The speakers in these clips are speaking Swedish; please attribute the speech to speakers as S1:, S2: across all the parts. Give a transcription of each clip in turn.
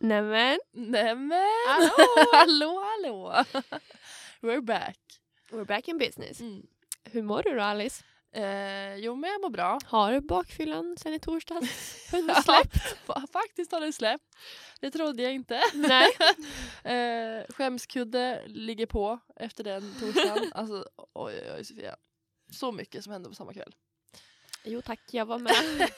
S1: Nämen.
S2: Nämen!
S1: Hallå!
S2: hallå, hallå! We're back.
S1: We're back in business.
S2: Mm.
S1: Hur mår du då Alice?
S2: Eh, jo, men jag mår bra.
S1: Har du bakfyllan sen i torsdags? Hundsläpp?
S2: Fa- Faktiskt har den släppt. Det trodde jag inte.
S1: Nej.
S2: Eh, skämskudde ligger på efter den torsdagen. Alltså, oj, oj, oj, Sofia. Så mycket som hände på samma kväll.
S1: Jo tack, jag var med.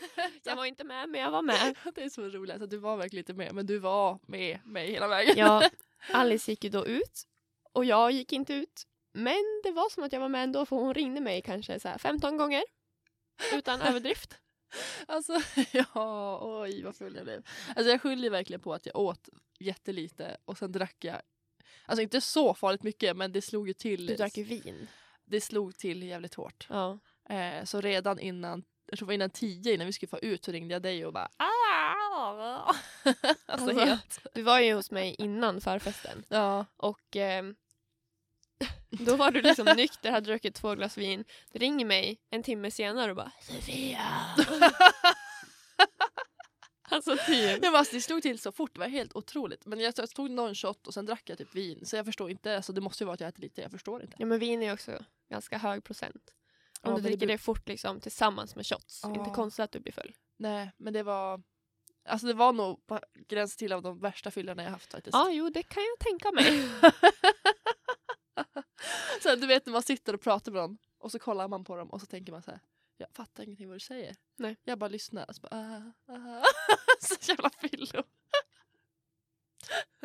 S1: Jag var inte med, men jag var med.
S2: Det är så roligt att du var verkligen inte med, men du var med mig hela vägen.
S1: Ja, Alice gick ju då ut och jag gick inte ut. Men det var som att jag var med ändå för hon ringde mig kanske så här 15 gånger. Utan överdrift.
S2: Alltså, ja, oj vad full jag blev. Alltså jag skyller verkligen på att jag åt jättelite och sen drack jag, alltså inte så farligt mycket men det slog ju till,
S1: Du drack ju vin.
S2: det slog till jävligt hårt.
S1: Ja.
S2: Eh, så redan innan, jag tror det var innan tio innan vi skulle få ut så ringde jag dig och bara alltså,
S1: Ah, Alltså.
S2: helt.
S1: Du var ju hos mig innan förfesten
S2: Ja.
S1: och ehm, då var du liksom nykter, hade druckit två glas vin. Du ringer mig en timme senare och bara Sofia! alltså typ.
S2: Jag bara, alltså, det slog till så fort, det var helt otroligt. Men jag, jag tog någon shot och sen drack jag typ vin så jag förstår inte, alltså, det måste ju vara att jag äter lite, jag förstår inte.
S1: Ja men vin är ju också ganska hög procent. Om
S2: Ja,
S1: du
S2: men det
S1: dricker
S2: bru-
S1: det fort liksom tillsammans med shots.
S2: Ja.
S1: Inte konstigt att du blir full.
S2: Nej, men det var... Alltså det var nog på gränsen till av de värsta fyllorna jag haft faktiskt.
S1: Ja jo det kan jag tänka mig.
S2: Så här, du vet när man sitter och pratar med någon och så kollar man på dem och så tänker man så här. Jag fattar ingenting vad du säger.
S1: Nej.
S2: Jag bara lyssnar och så bara ah, ah. Så jävla fyllo.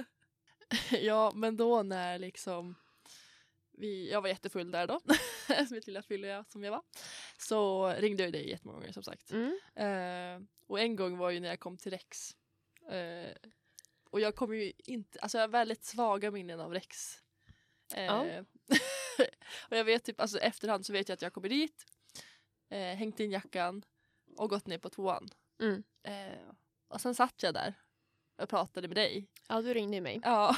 S2: ja men då när liksom vi, jag var jättefull där då. Mitt lilla fyllo jag- som jag var. Så ringde jag ju dig jättemånga gånger som sagt.
S1: Mm.
S2: Eh, och en gång var ju när jag kom till Rex. Eh, och jag kommer ju inte, alltså jag har väldigt svaga minnen av Rex. Eh,
S1: Ja.
S2: och jag vet typ, alltså efterhand så vet jag att jag kommer dit, eh, hängt in jackan och gått ner på toan.
S1: Mm.
S2: Eh, och sen satt jag där och pratade med dig.
S1: Ja du ringde ju mig
S2: Ja.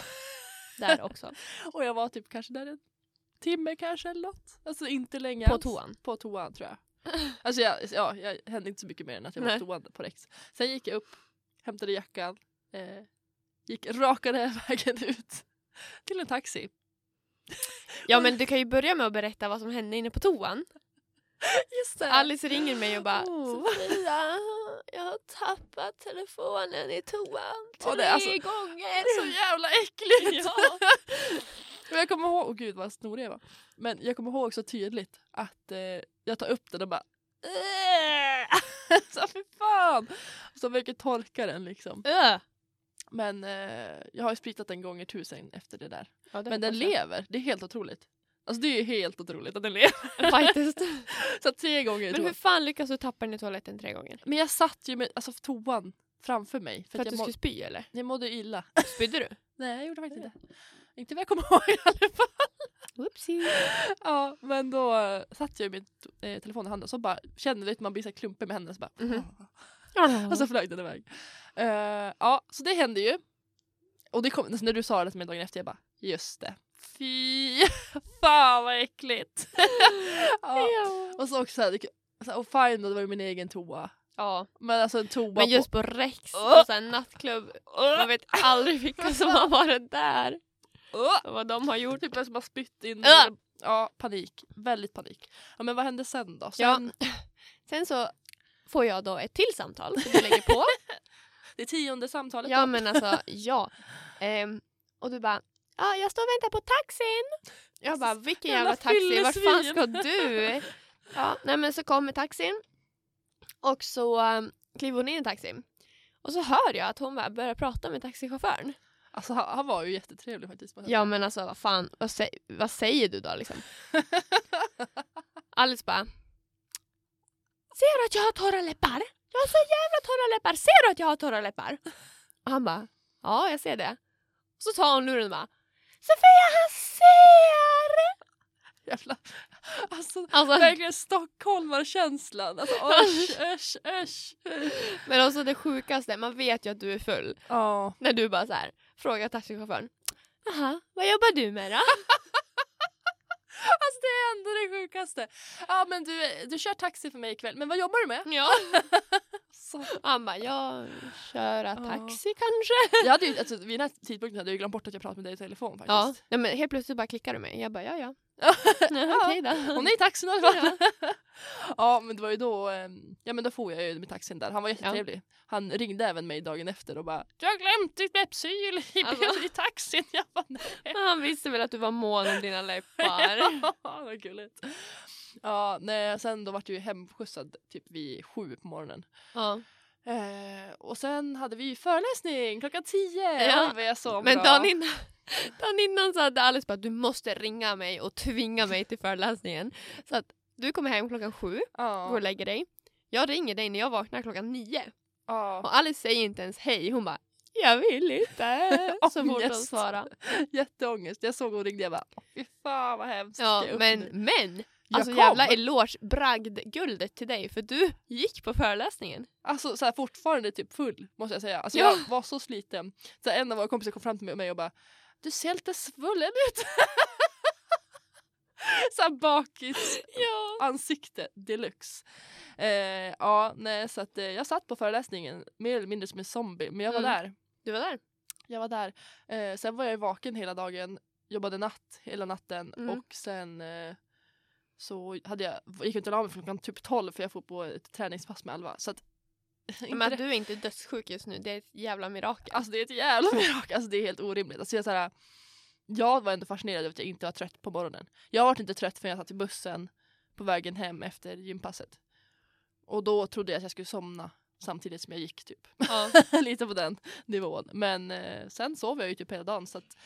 S1: där också.
S2: och jag var typ kanske där en timme kanske eller något. Alltså inte länge
S1: På
S2: alls.
S1: toan?
S2: På toan tror jag. Alltså jag, ja, jag hände inte så mycket mer än att jag var
S1: Nej.
S2: på toan på Rex. Sen gick jag upp, hämtade jackan, eh, gick rakade vägen ut till en taxi.
S1: Ja men du kan ju börja med att berätta vad som hände inne på toan.
S2: Just det!
S1: Alice ringer mig och bara
S2: Oh.
S1: Sofia, jag har tappat telefonen i toan tre
S2: Ja, det är alltså-
S1: gånger.
S2: Så jävla äckligt!
S1: Ja.
S2: Men jag kommer ihåg, åh gud vad snorig jag var. Men jag kommer ihåg så tydligt att eh, jag tar upp den och bara "Äh!" Så fy fan! Så försöker torka den liksom.
S1: Ö.
S2: Men eh, jag har ju spritat den gånger tusen efter det där.
S1: Ja, det
S2: Men den
S1: hoppas
S2: lever, det är helt otroligt. Alltså det är ju helt otroligt att den lever.
S1: jag. Faktiskt.
S2: Så att tre gånger i
S1: Men hur
S2: toan.
S1: fan lyckas du tappa den i toaletten tre gånger?
S2: Men jag satt ju med alltså, toan framför mig. För,
S1: För,
S2: att,
S1: att
S2: jag,
S1: du
S2: må-
S1: skulle spy eller?
S2: jag mådde illa.
S1: Spydde du?
S2: Nej jag gjorde faktiskt inte. Inte vad jag kommer ihåg i alla fall.
S1: Oopsie.
S2: Ja, men då eh, satt jag med eh, telefonen i handen och så bara kände jag att man blir så här klumpig med händerna så bara
S1: Mhm. Alltså,
S2: och så flög den iväg. Eh, ja, så det hände ju. Och det kom, alltså, när du sa det till mig dagen efter jag bara just det. Fy fan vad äckligt. ja.
S1: ja.
S2: Och så också så här, det- så här, och fine då, det var ju min egen toa.
S1: ja.
S2: Men alltså en toa
S1: Men just
S2: på...
S1: på Rex,
S2: Åh.
S1: på sån här nattklubb, man vet aldrig vilka som har varit där
S2: Åh!
S1: och vad de har gjort.
S2: Typ vem som har spytt in.
S1: Äh!
S2: Ja, panik. Väldigt panik. Ja, men vad hände sen då?
S1: Ja.
S2: Sen,
S1: Sen så får jag då ett till samtal som du lägger på.
S2: Det tionde samtalet
S1: Ja
S2: då.
S1: men alltså ja. Ehm, och du bara, ja jag står och väntar på taxin. Jag bara, vilken
S2: Alltså, Jävla
S1: jävla taxi, vart fan
S2: fyllesvin."
S1: ska du? Ja, nej men så kommer taxin. Och så um, kliver hon in i taxin. Och så hör jag att hon bara börjar prata med taxichauffören.
S2: Alltså han, han var ju jättetrevlig faktiskt. på
S1: Ja men alltså vad fan, vad, sä- vad säger du då liksom? Alice bara, ser du att jag har torra läppar? Jag har så jävla torra läppar, ser du att jag har torra läppar? Och han bara, ja jag ser det. Och så tar hon luren och bara, Sofia han ser!
S2: Jävla. Alltså
S1: Alltså,
S2: verkligen stockholmarkänslan. Alltså usch, usch, usch.
S1: men också det sjukaste, man vet ju att du är full.
S2: Ja.
S1: När du bara så här, frågar taxichauffören, jaha, vad jobbar du med då?
S2: Alltså det är ändå det sjukaste. Ja men du, du kör taxi för mig ikväll, men vad jobbar du med?
S1: Ja.
S2: Så.
S1: Han bara, jag köra
S2: Ja.
S1: taxi kanske.
S2: Jag hade ju, alltså, vid den här tidpunkten hade jag ju glömt bort att jag pratade med dig i telefon
S1: Ja.
S2: faktiskt.
S1: Nej, men helt plötsligt bara klickar du mig. Jag bara, ja ja.
S2: Ja.
S1: ja. Okej då.
S2: Hon är i taxin i alla fall. Ja men det var ju då, ehm, ja men då får jag ju med taxin där. Han var jättetrevlig. Han ringde även mig dagen efter och bara “Jag har glömt ditt läppsyl i,
S1: Alltså.
S2: i taxin”. Jag bara nej.
S1: Han visste väl att du var mån om dina läppar.
S2: Ja, vad gulligt. Ja, nej, sen då vart jag ju hemskjutsad typ vid sju på morgonen.
S1: ja.
S2: Eh, och sen hade vi ju föreläsning klockan tio.
S1: Ja,
S2: Oj, vad jag sov
S1: Men
S2: bra.
S1: dagen innan, dagen innan så hade Alice bara du måste ringa mig och tvinga mig till föreläsningen. Så att du kommer hem klockan sju, går och
S2: Ja.
S1: lägger dig. Jag ringer dig när jag vaknar klockan nio.
S2: ja.
S1: Och Alice säger inte ens hej, hon bara jag vill inte. Så fort hon
S2: Ångest.
S1: svarar.
S2: Jätteångest. Jag såg och ringde jag bara "Åh, fy fan vad hemskt.
S1: Ja,
S2: Ska jag upp
S1: men,
S2: nu?"
S1: men!
S2: Jag
S1: Alltså
S2: kom.
S1: jävla eloge, bragd, guldet till dig för du gick på föreläsningen.
S2: Alltså så här, fortfarande typ full måste jag säga. Alltså,
S1: Ja.
S2: Jag var så sliten. Så här, en av våra kompisar kom fram till mig och bara “du ser lite svullen ut”. så här bakis
S1: Ja.
S2: ansikte deluxe. Eh, ja, nej, så att, eh, jag satt på föreläsningen mer eller mindre som en zombie, men jag var
S1: Mm.
S2: där.
S1: Du var där.
S2: Jag var där. Eh, sen var jag ju vaken hela dagen, jobbade natt hela natten
S1: Mm.
S2: och sen eh, så hade jag, gick jag inte och la mig förrän klockan typ 12 för jag får på ett träningspass med Alva. Så att, inte
S1: Men att
S2: det-
S1: du är inte dödssjuk just nu, det är ett jävla mirakel.
S2: Alltså det är ett jävla mirakel, alltså det är helt orimligt. Alltså, jag, så här, jag var ändå fascinerad över att jag inte var trött på morgonen. Jag var inte trött förrän jag satt i bussen på vägen hem efter gympasset. Och då trodde jag att jag skulle somna samtidigt som jag gick typ.
S1: Ja.
S2: Lite på den nivån. Men eh, sen sov jag ju typ hela dagen. Så att,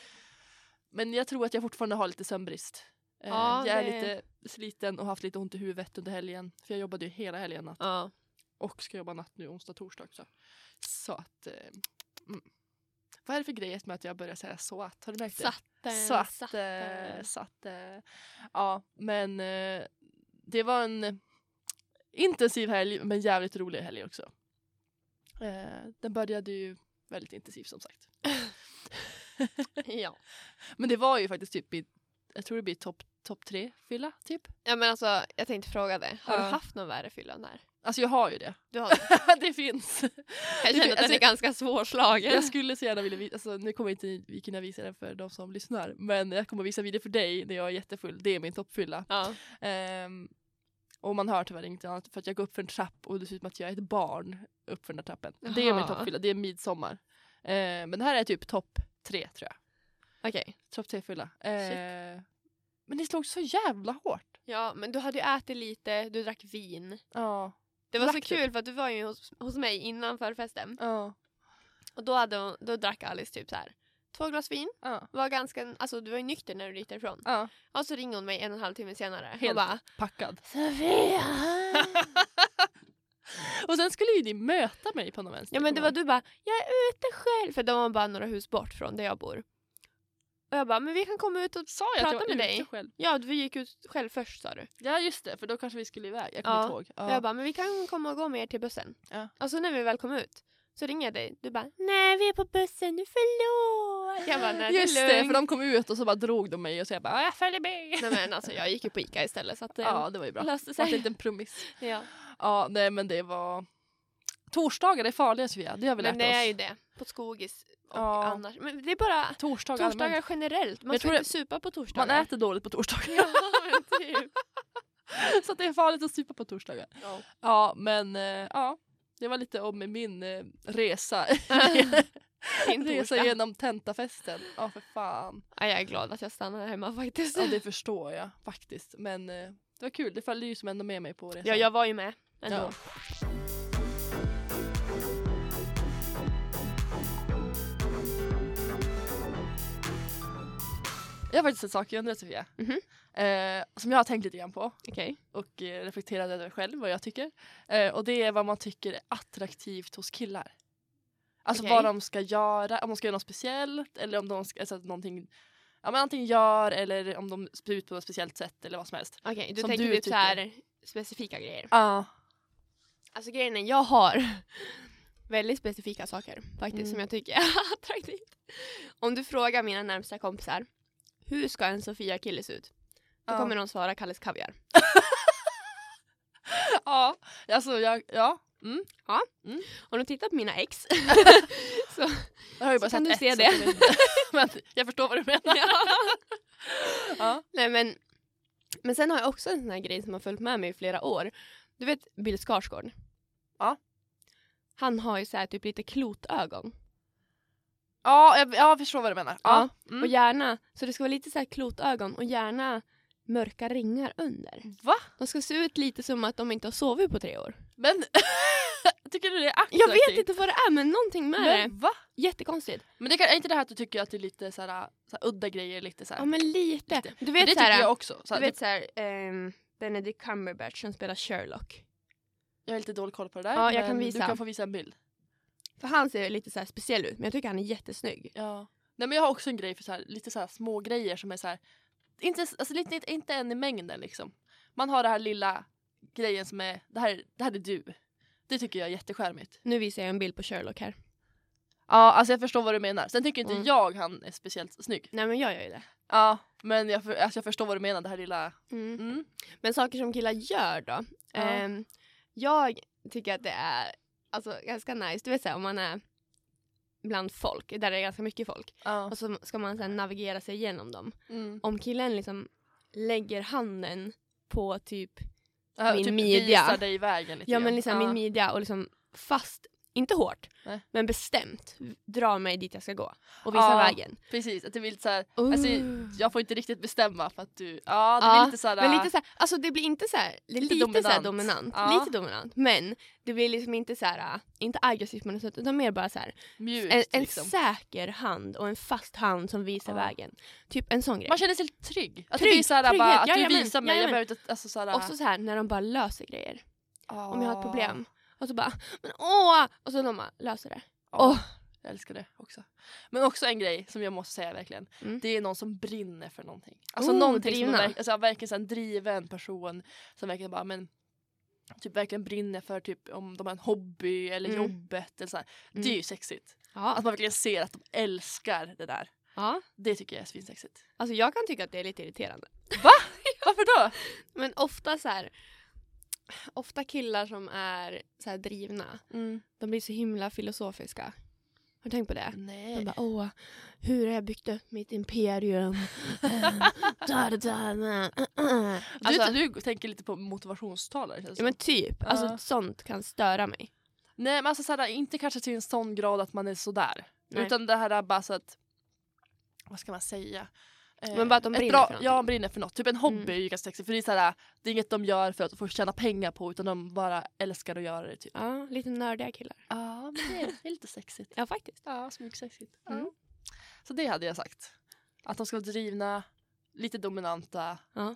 S2: men jag tror att jag fortfarande har lite sömnbrist. Eh,
S1: Ja,
S2: jag är
S1: det-
S2: lite sliten och haft lite ont i huvudet under helgen. För jag jobbade ju hela helgen natt.
S1: ja.
S2: Och ska jobba natt nu onsdag torsdag också. Så att... Eh, mm. Vad är det för grej med att jag börjar säga så att? Har du märkt det?
S1: Satten,
S2: så att,
S1: satten.
S2: eh, så att eh, Ja, men eh, det var en eh, intensiv helg men jävligt rolig helg också. Eh, den började ju väldigt intensiv som sagt.
S1: Ja.
S2: Men det var ju faktiskt typ i, jag tror det blir topp top tre fylla typ.
S1: ja men alltså, jag tänkte fråga dig. Har du
S2: Ja.
S1: haft någon värre fylla än det här?
S2: Alltså jag har ju det.
S1: Du har det.
S2: det finns.
S1: Jag känner att den
S2: Alltså,
S1: är ganska svårslagen.
S2: Jag skulle så gärna vilja visa, alltså, nu kommer inte vi kunna visa den för de som lyssnar, men jag kommer visa video för dig när jag är jättefull, det är min toppfylla.
S1: Ja.
S2: Ehm, och man hör tyvärr inget annat för att jag går upp för en trapp och det ser ut som att jag är ett barn upp för den där trappen. Det är min
S1: Jaha.
S2: toppfylla, det är midsommar. Ehm, men det här är typ topp tre tror jag.
S1: Okej.
S2: Topp tre fylla. Ehm, men det slog så jävla hårt.
S1: Ja, men du hade ju ätit lite, du drack vin.
S2: Ja.
S1: Det var så
S2: Drack du?
S1: kul för att du var ju hos, hos mig innan förfesten.
S2: Ja.
S1: Och då, hade hon, då drack Alice typ så här. Två glas vin,
S2: Ja.
S1: var ganska, alltså du var ju nykter när du gick därifrån.
S2: ja.
S1: Och så ringer hon mig en och en halv timme senare
S2: Helt.
S1: och bara
S2: Packad.
S1: Sofia!
S2: Och sen skulle ju ni möta mig på någon vänster.
S1: ja men det var du bara, jag är ute själv. För de var bara några hus bort från där jag bor. Och jag bara, men vi kan komma ut och...
S2: Sa jag att jag
S1: Prata
S2: var
S1: med
S2: ute
S1: dig.
S2: själv?
S1: Ja, vi gick ut själv först sa du.
S2: Ja just det, för då kanske vi skulle iväg. Jag
S1: Ja.
S2: kommer inte ihåg.
S1: Och jag bara, men vi kan komma och gå med er till bussen.
S2: Ja.
S1: Och så när vi väl kom ut så ringer jag dig. Du bara, nej vi är på bussen nu, förlåt. Jag bara, nej det är
S2: just det, för
S1: lugnt.
S2: de kom ut och så bara drog de mig och så jag bara "Ja, jag följer med.
S1: Nej men alltså jag gick ju på Ica istället så att ehm, det
S2: Ja det var ju bra.
S1: löste
S2: Det var en
S1: sig.
S2: liten promiss.
S1: Ja.
S2: Ja nej men det var Torsdagar är farliga Sofia, det har vi lärt
S1: Men det är
S2: oss.
S1: ju det, på skogis och
S2: Ja.
S1: annars. Men det är bara
S2: Torsdagar, allmänt.
S1: torsdagar generellt, man
S2: jag
S1: ska
S2: tror
S1: inte supa på torsdagar.
S2: Man äter dåligt på torsdagar
S1: Ja, men typ.
S2: så att det är farligt att supa på torsdagar.
S1: Ja.
S2: Ja men eh, ja, det var lite om min eh, resa.
S1: Din
S2: resa
S1: torsdag.
S2: genom tentafesten. Ja för fan.
S1: Ja, jag är glad att jag stannade hemma faktiskt.
S2: Ja det förstår jag faktiskt. Men eh, det var kul, det följde ju som ändå med mig på resan.
S1: Ja, jag var ju med ändå.
S2: Ja. Jag har faktiskt en sak jag undrar Sofia.
S1: Mhm.
S2: Eh, som jag har tänkt lite grann på
S1: Okej.
S2: och eh, reflekterat över själv vad jag tycker. Eh, och det är vad man tycker är attraktivt hos killar. Alltså
S1: Okej.
S2: vad de ska göra, om de ska göra något speciellt eller om de ska, alltså, att någonting, ja men antingen gör eller om de ser ut på något speciellt sätt eller vad som helst.
S1: Okej, du
S2: Som
S1: tänker
S2: du
S1: typ
S2: tycker.
S1: så här specifika grejer.
S2: Ja.
S1: Alltså grejen är, jag har väldigt specifika saker faktiskt
S2: Mm.
S1: som jag tycker är attraktivt. Om du frågar mina närmsta kompisar, hur ska en Sofia-kille se ut? Då
S2: Ja.
S1: kommer någon svara Kalles Kaviar.
S2: Ja, alltså jag, ja. Mm.
S1: Har du tittat på mina ex?
S2: Jag har ju
S1: Så kan
S2: bara sett
S1: du
S2: ett,
S1: se
S2: så
S1: det.
S2: jag vet inte. Men jag förstår vad du menar. Ja.
S1: Nej men, men sen har jag också en sån här grej som har följt med mig i flera år. Du vet Bill Skarsgård?
S2: Ja.
S1: Han har ju så här typ lite klotögon.
S2: Ja, jag, ja, jag förstår vad du menar. Ja.
S1: Och
S2: Mm.
S1: gärna, så det ska vara lite så här klotögon och gärna mörka ringar under.
S2: Va?
S1: De ska se ut lite som att de inte har sovit på tre år.
S2: Men tycker du det är attraktivt?
S1: Jag vet inte vad det är men någonting med det.
S2: Men va?
S1: Jättekonstigt.
S2: Men det kan, är inte det här att du tycker att det är lite så här, så här udda grejer? Lite så här.
S1: Ja men lite.
S2: Lite.
S1: Du
S2: Men
S1: vet
S2: det
S1: såhär,
S2: tycker jag också. Så här,
S1: du vet så här ehm, Benedict Cumberbatch som spelar Sherlock.
S2: Jag har lite dålig koll på det där.
S1: Ja, jag kan
S2: men
S1: visa.
S2: Du kan få visa en bild.
S1: För han ser lite så här speciell ut men jag tycker han är jättesnygg.
S2: Ja. Nej, men jag har också en grej för så här, lite så här små grejer som är så här, inte, alltså, lite, inte, inte en i mängden liksom. Man har det här lilla grejen som är, det här, det här är du. Det tycker jag är jättecharmigt.
S1: Nu visar jag en bild på Sherlock här.
S2: Ja, alltså jag förstår vad du menar. Sen tycker inte
S1: Mm.
S2: jag han är speciellt snygg.
S1: Nej men jag gör ju det.
S2: Ja, men jag, för, alltså, jag förstår vad du menar, det här lilla.
S1: Mm.
S2: Mm.
S1: Men saker som killar gör då.
S2: Ja.
S1: Ehm, jag tycker att det är alltså, ganska nice. Du vet så här, om man är bland folk, där det är ganska mycket folk.
S2: Ja.
S1: Och så ska man sen navigera sig igenom dem.
S2: Mm.
S1: Om killen liksom lägger handen på typ,
S2: Ja,
S1: Min
S2: typ
S1: midja.
S2: Visar dig vägen lite
S1: ja men
S2: grann.
S1: liksom min midja och liksom fast, inte hårt,
S2: Nej.
S1: men bestämt dra mig dit jag ska gå. Och visa
S2: Ja.
S1: vägen.
S2: Precis, att det blir lite så här,
S1: Uh.
S2: alltså, jag får inte riktigt bestämma för att du, ja det
S1: Ja,
S2: blir lite så här. äh,
S1: Men lite så här, alltså det blir inte så här, det är lite,
S2: Lite
S1: dominant. Så här
S2: dominant.
S1: dominant
S2: Ja.
S1: Lite dominant. Men det blir liksom inte så här, äh, inte aggressivt på något sätt utan mer bara så här,
S2: mjukt
S1: en, en
S2: liksom.
S1: säker hand och en fast hand som visar
S2: Ja.
S1: vägen. Typ en sån grej.
S2: Man känner sig lite trygg. Att
S1: Trygg,
S2: det blir så här, bara,
S1: trygghet,
S2: att du
S1: jajamän,
S2: visar mig, jag
S1: jajamän.
S2: behöver inte, alltså så här,
S1: Och så, så här när de bara löser grejer.
S2: ah.
S1: Om jag har ett problem. Och så bara, men åh! Och så de bara löser det.
S2: Ja,
S1: Åh.
S2: Jag älskar det också. Men också en grej som jag måste säga verkligen.
S1: Mm.
S2: Det är någon som brinner för någonting. Alltså
S1: Oh,
S2: någonting som
S1: drivna.
S2: är verk, alltså, verkligen så här, en driven person som verkligen bara men typ verkligen brinner för typ om de har en hobby eller
S1: Mm.
S2: jobbet eller så här. Det är ju sexigt. Att
S1: Ja.
S2: man verkligen ser att de älskar det där.
S1: ja.
S2: Det tycker jag är svinsexigt.
S1: Alltså jag kan tycka att det är lite irriterande.
S2: Varför då?
S1: Men ofta så här, ofta killar som är så här drivna, de blir så himla filosofiska. Har du tänkt på det? De
S2: Nej.
S1: bara, åh, hur har jag byggt upp mitt imperium? da, da, da, da.
S2: Du,
S1: Alltså,
S2: du tänker lite på motivationstalare. känns det
S1: ja,
S2: som.
S1: men typ. Alltså
S2: Ja.
S1: sånt kan störa mig.
S2: Nej men alltså såhär, inte kanske till en sån grad att man är sådär.
S1: Nej.
S2: Utan det här är bara så att, vad ska man säga? Eh,
S1: Men bara att de
S2: ett
S1: brinner
S2: bra,
S1: för någonting.
S2: Ja, de brinner för något. Typ en hobby
S1: Mm.
S2: är ju ganska sexigt. För det är, såhär, det är inget de gör för att få tjäna pengar på utan de bara älskar att göra det. Typ.
S1: Ja, lite nördiga killar.
S2: Ja, men det är, det är lite sexigt.
S1: Ja, faktiskt.
S2: Ja, smygsexigt. Ja.
S1: Mm.
S2: Så det hade jag sagt. Att de ska vara drivna, lite dominanta.
S1: Ja.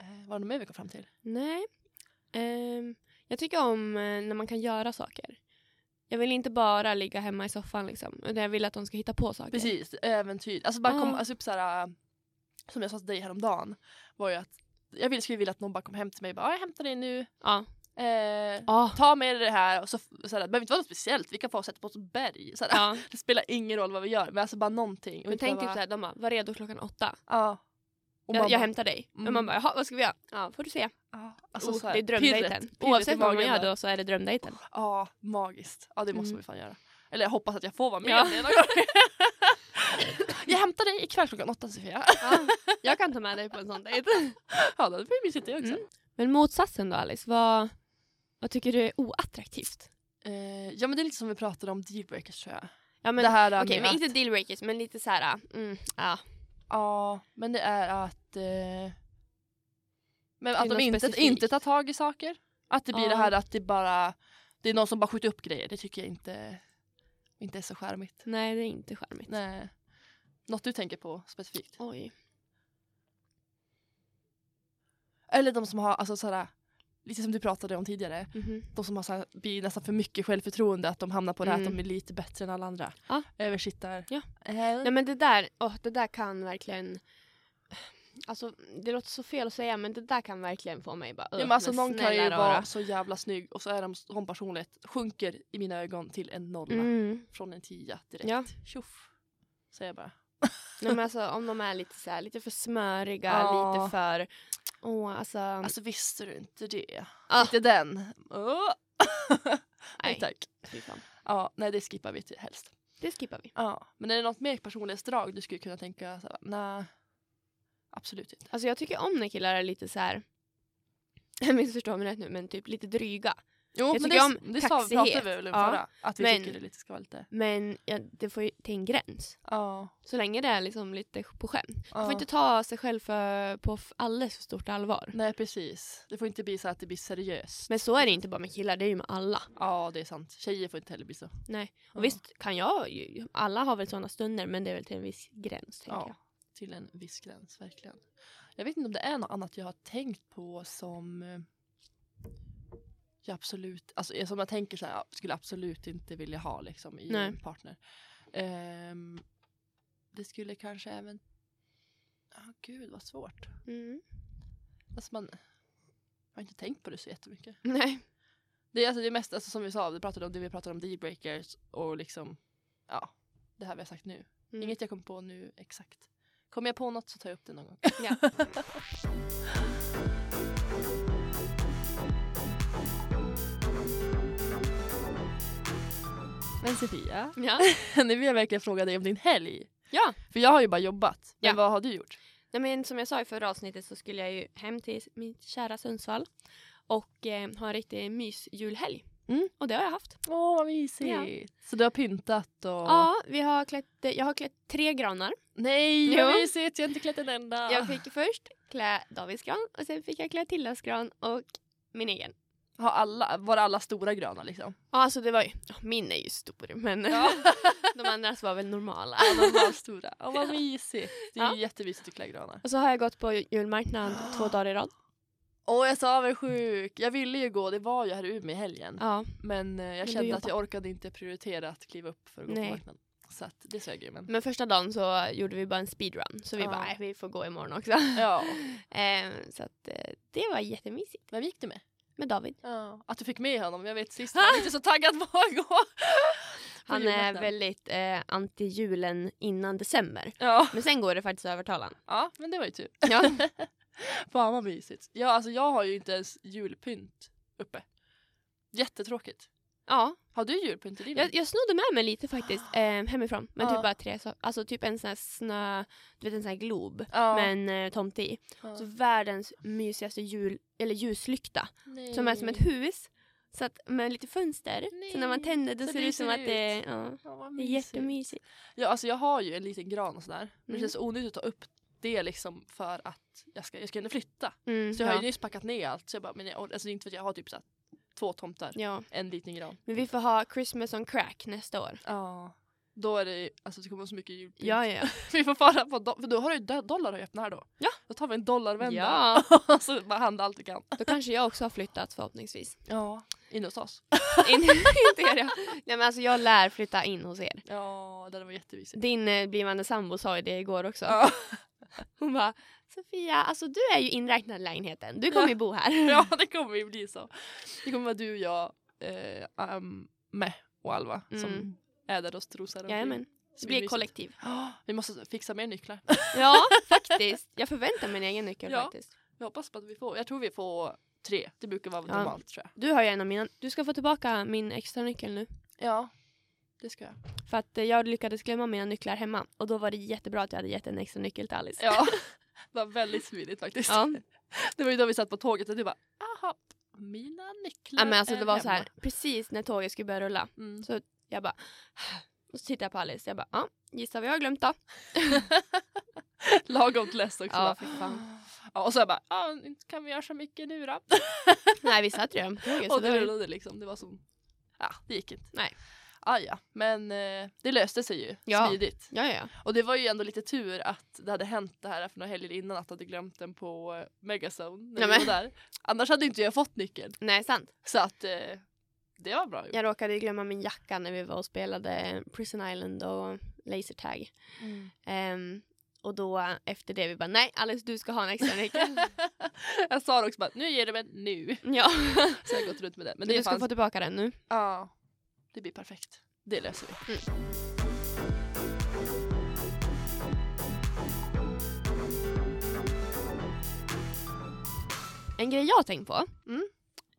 S2: Eh, vad är det mer vi kom fram till?
S1: Nej. Ehm, jag tycker om eh, när man kan göra saker. Jag vill inte bara ligga hemma i soffan liksom. Utan jag vill att de ska hitta på saker.
S2: Precis, äventyr. Alltså bara kom,
S1: Ja.
S2: alltså typ så här, äh, som jag sa till dig häromdagen var ju att jag ville, skulle vilja att någon bara kom hem till mig och bara "Ja, jag hämtar dig nu.
S1: Ja.
S2: Eh,
S1: Ah.
S2: Ta med dig det här och så, så här, det behöver inte vara något speciellt, vi kan få sätta på oss ett berg. Så här,
S1: ja.
S2: Det spelar ingen roll vad vi gör, men alltså bara någonting. Och
S1: Men
S2: inte
S1: tänk typ
S2: bara,
S1: såhär, de bara, var redo klockan åtta.
S2: Ja. Och man
S1: Jag, jag
S2: bara,
S1: hämtar dig.
S2: Mm.
S1: Men man bara, jaha vad ska vi göra? Ja, får du se.
S2: ja, alltså,
S1: oh,
S2: så här,
S1: det är
S2: pirret-
S1: drömdejten.
S2: pirret i
S1: Oavsett vad man
S2: magen
S1: gör
S2: bara,
S1: då så är det drömdejten.
S2: Ja, magiskt. Ja, det måste
S1: Mm.
S2: vi fan göra. Eller jag hoppas att jag får vara med
S1: Ja.
S2: om det någon gång. jag hämtar dig ikväll klockan åtta Sofia.
S1: Ja, jag kan ta med dig på en sån dejt.
S2: Ja, det blir mysigt det också.
S1: Mm. Men motsatsen då Alice, vad, vad tycker du är oattraktivt?
S2: Eh, ja men det är lite som vi pratade om dealbreakers tror jag.
S1: Ja, men,
S2: det här
S1: Okej,
S2: med
S1: men
S2: att,
S1: inte dealbreakers, men lite så här. Mm, ja.
S2: Ja, men det är att... Eh, men att
S1: något
S2: de inte,
S1: specifikt.
S2: inte tar tag i saker. Att det blir
S1: Ja.
S2: det här att det bara... Det är någon som bara skjuter upp grejer. Det tycker jag inte, inte är så charmigt.
S1: Nej, det är inte charmigt.
S2: Nej. Något du tänker på specifikt?
S1: Oj.
S2: Eller de som har, alltså såhär, lite som du pratade om tidigare.
S1: Mhm.
S2: De som har såhär, blir nästan för mycket självförtroende. Att de hamnar på det här
S1: Mm.
S2: att de är lite bättre än alla andra.
S1: Ja.
S2: Översittar.
S1: Ja.
S2: Eh,
S1: Nej men det där, åh, det där kan verkligen... Alltså det låter så fel att säga men det där kan verkligen få mig bara...
S2: Ja,
S1: "Ugh,
S2: men alltså någon kan ju
S1: snälla
S2: vara
S1: rara."
S2: så jävla snygg och så är de sån personlighet sjunker i mina ögon till en nolla
S1: Mm.
S2: från en tia direkt.
S1: Ja.
S2: Tjoff. Säger jag bara.
S1: Nej, men alltså, om de är lite, så här, lite för smöriga,
S2: Ja.
S1: lite för... Åh, alltså...
S2: Alltså visste du inte det?
S1: Ah.
S2: Inte den. Åh. nej
S1: Nej.
S2: tack.
S1: fy fan.
S2: Ja, nej det skippar vi till helst.
S1: Det skippar vi.
S2: Ja. Men är det något mer personlighetsdrag du skulle kunna tänka såhär, nej. Absolut inte.
S1: Alltså jag tycker om när killar är lite så här... Missförstå mig rätt nu, men typ lite dryga.
S2: Jo
S1: Jag
S2: men
S1: tycker
S2: det,
S1: om
S2: det sa, pratade
S1: kaxighet.
S2: vi väl om
S1: Ja.
S2: förra? Att vi
S1: Men-
S2: tycker det lite ska vara lite...
S1: Men ja, det får ju till en gräns.
S2: Ja.
S1: Så länge det är liksom lite på skämt. Man
S2: ja.
S1: får inte ta sig själv för, på f- alldeles för stort allvar.
S2: Nej precis. Det får inte bli så att det blir seriöst.
S1: Men så är det inte bara med killar, det är ju med alla.
S2: Ja det är sant. Tjejer får inte heller bli så. Ja.
S1: Och visst kan jag ju, alla har väl sådana stunder men det är väl till en viss gräns tänker
S2: Ja, till en viss gräns verkligen. Jag vet inte om det är något annat jag har tänkt på som eh, jag absolut, alltså eh, som jag tänker så här, jag skulle absolut inte vilja ha liksom i
S1: Nej.
S2: en partner. Ehm, det skulle kanske även, ah gud vad svårt.
S1: jag. Mm.
S2: Alltså man, jag har inte tänkt på det så jättemycket.
S1: Nej.
S2: Det är alltså det är mest, alltså som vi sa, vi pratade om det vi pratade om dealbreakers och liksom, ja, det här vi har sagt nu.
S1: Mm.
S2: Inget jag kom på nu exakt. Kommer jag på något så tar jag upp det någon gång.
S1: Ja.
S2: Men Sofia,
S1: ja.
S2: nu vill jag verkligen fråga dig om din helg.
S1: Ja.
S2: För jag har ju bara jobbat. Men
S1: Ja.
S2: vad har du gjort?
S1: Nej, men som jag sa i förra avsnittet så skulle jag ju hem till min kära Sundsvall och eh, ha en riktig mysjulhelg.
S2: Mm.
S1: Och det har jag haft.
S2: Åh, vad mysigt. Så du har pyntat och...
S1: Ja, vi har klätt, eh, jag har klätt tre granar.
S2: Nej, vad
S1: Jo.
S2: mysigt. Jag har inte klätt en enda.
S1: Jag fick först klä Davids gran och sen fick jag klä Tillas gran och min egen.
S2: Har alla, var alla stora gröna liksom?
S1: Ja, alltså det var ju, ja, min är ju stor men de andras var väl normala.
S2: de var stora. Åh, vad mysigt. Det är
S1: Ja.
S2: jättemysigt att klä granar.
S1: Och så har jag gått på julmarknaden två dagar i rad.
S2: Åh, jag är så avundsjuk. Jag ville ju gå, det var ju här i Umeå i helgen.
S1: Ja,
S2: Men eh, jag
S1: du
S2: kände att
S1: jobbar.
S2: jag orkade inte prioritera att kliva upp för att gå
S1: Nej.
S2: på marknaden. Så att det sög ju. Men...
S1: men första dagen så gjorde vi bara en speedrun så vi
S2: Ja.
S1: bara, "Nej, vi får gå imorgon också.
S2: Ja.
S1: Ehm, så att, eh, det var jättemysigt
S2: Vem gick du med?
S1: med David.
S2: Ja. Att du fick med honom. Jag vet sist var han inte så taggad på att gå.
S1: Han är
S2: julafton.
S1: väldigt eh, anti-julen innan december.
S2: Ja.
S1: Men sen går det faktiskt att övertala honom.
S2: ja, men det var ju tur.
S1: Ja.
S2: Fan vad mysigt. Ja, alltså, jag har ju inte ens julpynt uppe. Jättetråkigt.
S1: ja.
S2: Har du julpynt i din?
S1: Jag, jag snodde med mig lite faktiskt eh, hemifrån. Men
S2: Ja.
S1: typ bara tre saker. Alltså typ en sån här snö... Du vet en sån här glob
S2: ja.
S1: med en eh, tomte i.
S2: ja.
S1: Så världens mysigaste jul, eller ljuslykta.
S2: Nej.
S1: Som är som ett hus. Så att, med lite fönster. Så när man
S2: Nej,
S1: tänder då
S2: så
S1: ser det ut som
S2: lyser
S1: att
S2: det
S1: det är... Ja,
S2: Ja, vad
S1: det är
S2: mysigt.
S1: jättemysigt.
S2: Ja, alltså jag har ju en liten gran och sådär. Men det
S1: Mm.
S2: känns onödigt att ta upp det liksom för att jag ska, jag ska ändå flytta.
S1: Mm,
S2: Så jag har ju
S1: ja.
S2: nyss packat ner allt. Så jag bara, men jag, or- alltså det är inte för att jag har typ så här, två tomtar,
S1: ja.
S2: en liten gran.
S1: Men vi får ha Christmas on crack nästa år.
S2: Ja. Då är det ju- alltså det kommer vara så mycket julpynt.
S1: Ja, ja.
S2: Vi får fara på, do- för då har du ju do- dollar att öppna här då.
S1: Ja.
S2: Då tar vi en dollarvända.
S1: Ja.
S2: Och så bara handla allt vi kan.
S1: Då kanske jag också har flyttat förhoppningsvis.
S2: Ja. In hos oss.
S1: In, inte er, ja. Nej men alltså jag lär flytta in hos er.
S2: Ja, det var jättemysigt.
S1: Din eh, blivande sambo sa ju det igår också.
S2: Ja.
S1: Hon bara Sofia, alltså du är ju inräknad i lägenheten. Du kommer ju bo här.
S2: ja, det kommer ju bli så. Det kommer vara du, jag, eh, um, med och Alva som
S1: Mm.
S2: är där och strosar omkring.
S1: Jajamän. Det blir
S2: Svinmysigt.
S1: kollektiv.
S2: Ja, vi måste fixa mer nycklar.
S1: Ja, faktiskt. Jag förväntar mig en egen nyckel
S2: Ja.
S1: faktiskt.
S2: Jag hoppas på att vi får. Jag tror vi får tre. Det brukar vara
S1: Ja.
S2: normalt tror jag.
S1: Du har ju en av mina. Du ska få tillbaka min extra nyckel nu.
S2: Ja, det ska jag.
S1: För att eh, jag lyckades glömma mina nycklar hemma. Och då var det jättebra att jag hade gett en extra nyckel till Alice.
S2: Ja, det var väldigt smidigt faktiskt.
S1: Ja.
S2: Det var ju då vi satt på tåget och du bara, aha, mina nycklar
S1: Ja, men alltså
S2: är
S1: det var
S2: hemma."
S1: så här precis när tåget skulle börja rulla.
S2: Mm.
S1: Jag bara... Och så tittar jag på Alice. Jag bara, ja, gissa vad jag har glömt då?
S2: Lagom till less också.
S1: Ja,
S2: bara,
S1: fy fan.
S2: Ja, och så jag bara, ah, inte kan vi göra så mycket nu då?
S1: Nej, vi satt redan på tåget. Så
S2: och
S1: det
S2: det
S1: var...
S2: rullade liksom. Det var som, ja, det gick inte.
S1: Nej.
S2: Ah, ja, men eh, det löste sig ju
S1: Ja.
S2: smidigt.
S1: Ja, ja, ja.
S2: Och det var ju ändå lite tur att det hade hänt det här för några helger innan att jag hade glömt den på eh, Megazone när
S1: Nej,
S2: vi var
S1: men.
S2: där. Annars hade inte jag fått nyckeln.
S1: Nej, sant.
S2: Så att eh, det var bra gjort.
S1: Jag råkade ju glömma min jacka när vi var och spelade Prison Island och Laser Tag. Ehm, och då efter det vi bara, nej Alice du ska ha en extra nyckel.
S2: jag sa det också bara, nu ger du mig nu.
S1: ja.
S2: Så jag har gått runt med det. Men
S1: Men
S2: det
S1: du ska
S2: fanns.
S1: få tillbaka den nu.
S2: Ja, det blir perfekt. Det löser vi.
S1: Mm. En grej jag har tänkt på,
S2: Mm.